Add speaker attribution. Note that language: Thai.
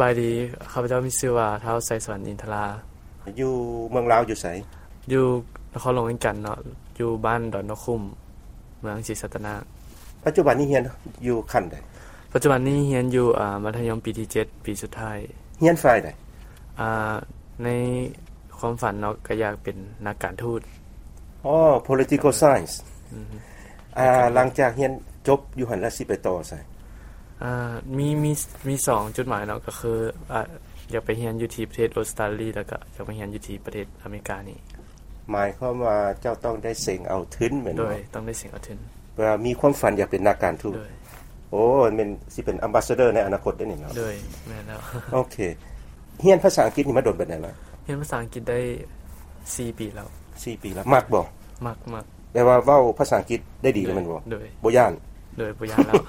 Speaker 1: บายดีข้าพเจ้ามีชื่อว่าเท้าไสสวรรค์อินทรา
Speaker 2: อยู่เมืองลาวอยู่ไส
Speaker 1: อยู่นครหลวงเหมือนกันเนาะอยู่บ้านดอนนกคุ้มเมืองศรีสัตนา
Speaker 2: ปัจจุบันนี้เรียนอยู่ขั้นใด
Speaker 1: ปัจจุบันนี้เรียนอยู่อ่ามัธยมปีที่ 7 ปีสุดท้าย
Speaker 2: เรียนฝ่ายใด
Speaker 1: อ่าในความฝันเนาะก็อยากเป็นนักการทูต
Speaker 2: อ๋อ political science อ่าหลังจากเรียนจบอยู่หันแล้วสิไปต่อไส
Speaker 1: อ่ามีมีมีสองจุดหมายเนาะก็คืออ่าอยากไปเรียนอยู่ที่ประเทศออสเตรเลียแล้วก็อยากไปเรียนอยู่ที่ประเทศอเมริกานี่
Speaker 2: หมายความว่าเจ้าต้องได้เสงเอาทุนแม่น
Speaker 1: โด
Speaker 2: บ่
Speaker 1: ยต้องได้เสียงเอาทุน
Speaker 2: ว่ามีความฝันอยากเป็นนักการทูต
Speaker 1: โดย
Speaker 2: โอ้แม่นสิเป็น ambassador ในอนาคตได้นี่เนาะ
Speaker 1: โดยแม่นแล้ว
Speaker 2: โอเคเรียนภาษาอังกฤษนี่มาโดนบัดไหนล่ะ
Speaker 1: เรียนภาษาอังกฤษได้ 4 ปีแล้ว
Speaker 2: 4ปีแล้วมากบ่
Speaker 1: มากมาก
Speaker 2: แปลว่าเว้าภาษาอังกฤษได้ดีแล้วแม่นบ่
Speaker 1: โดย
Speaker 2: บ่ย่าน
Speaker 1: โดยปุยานแล้ว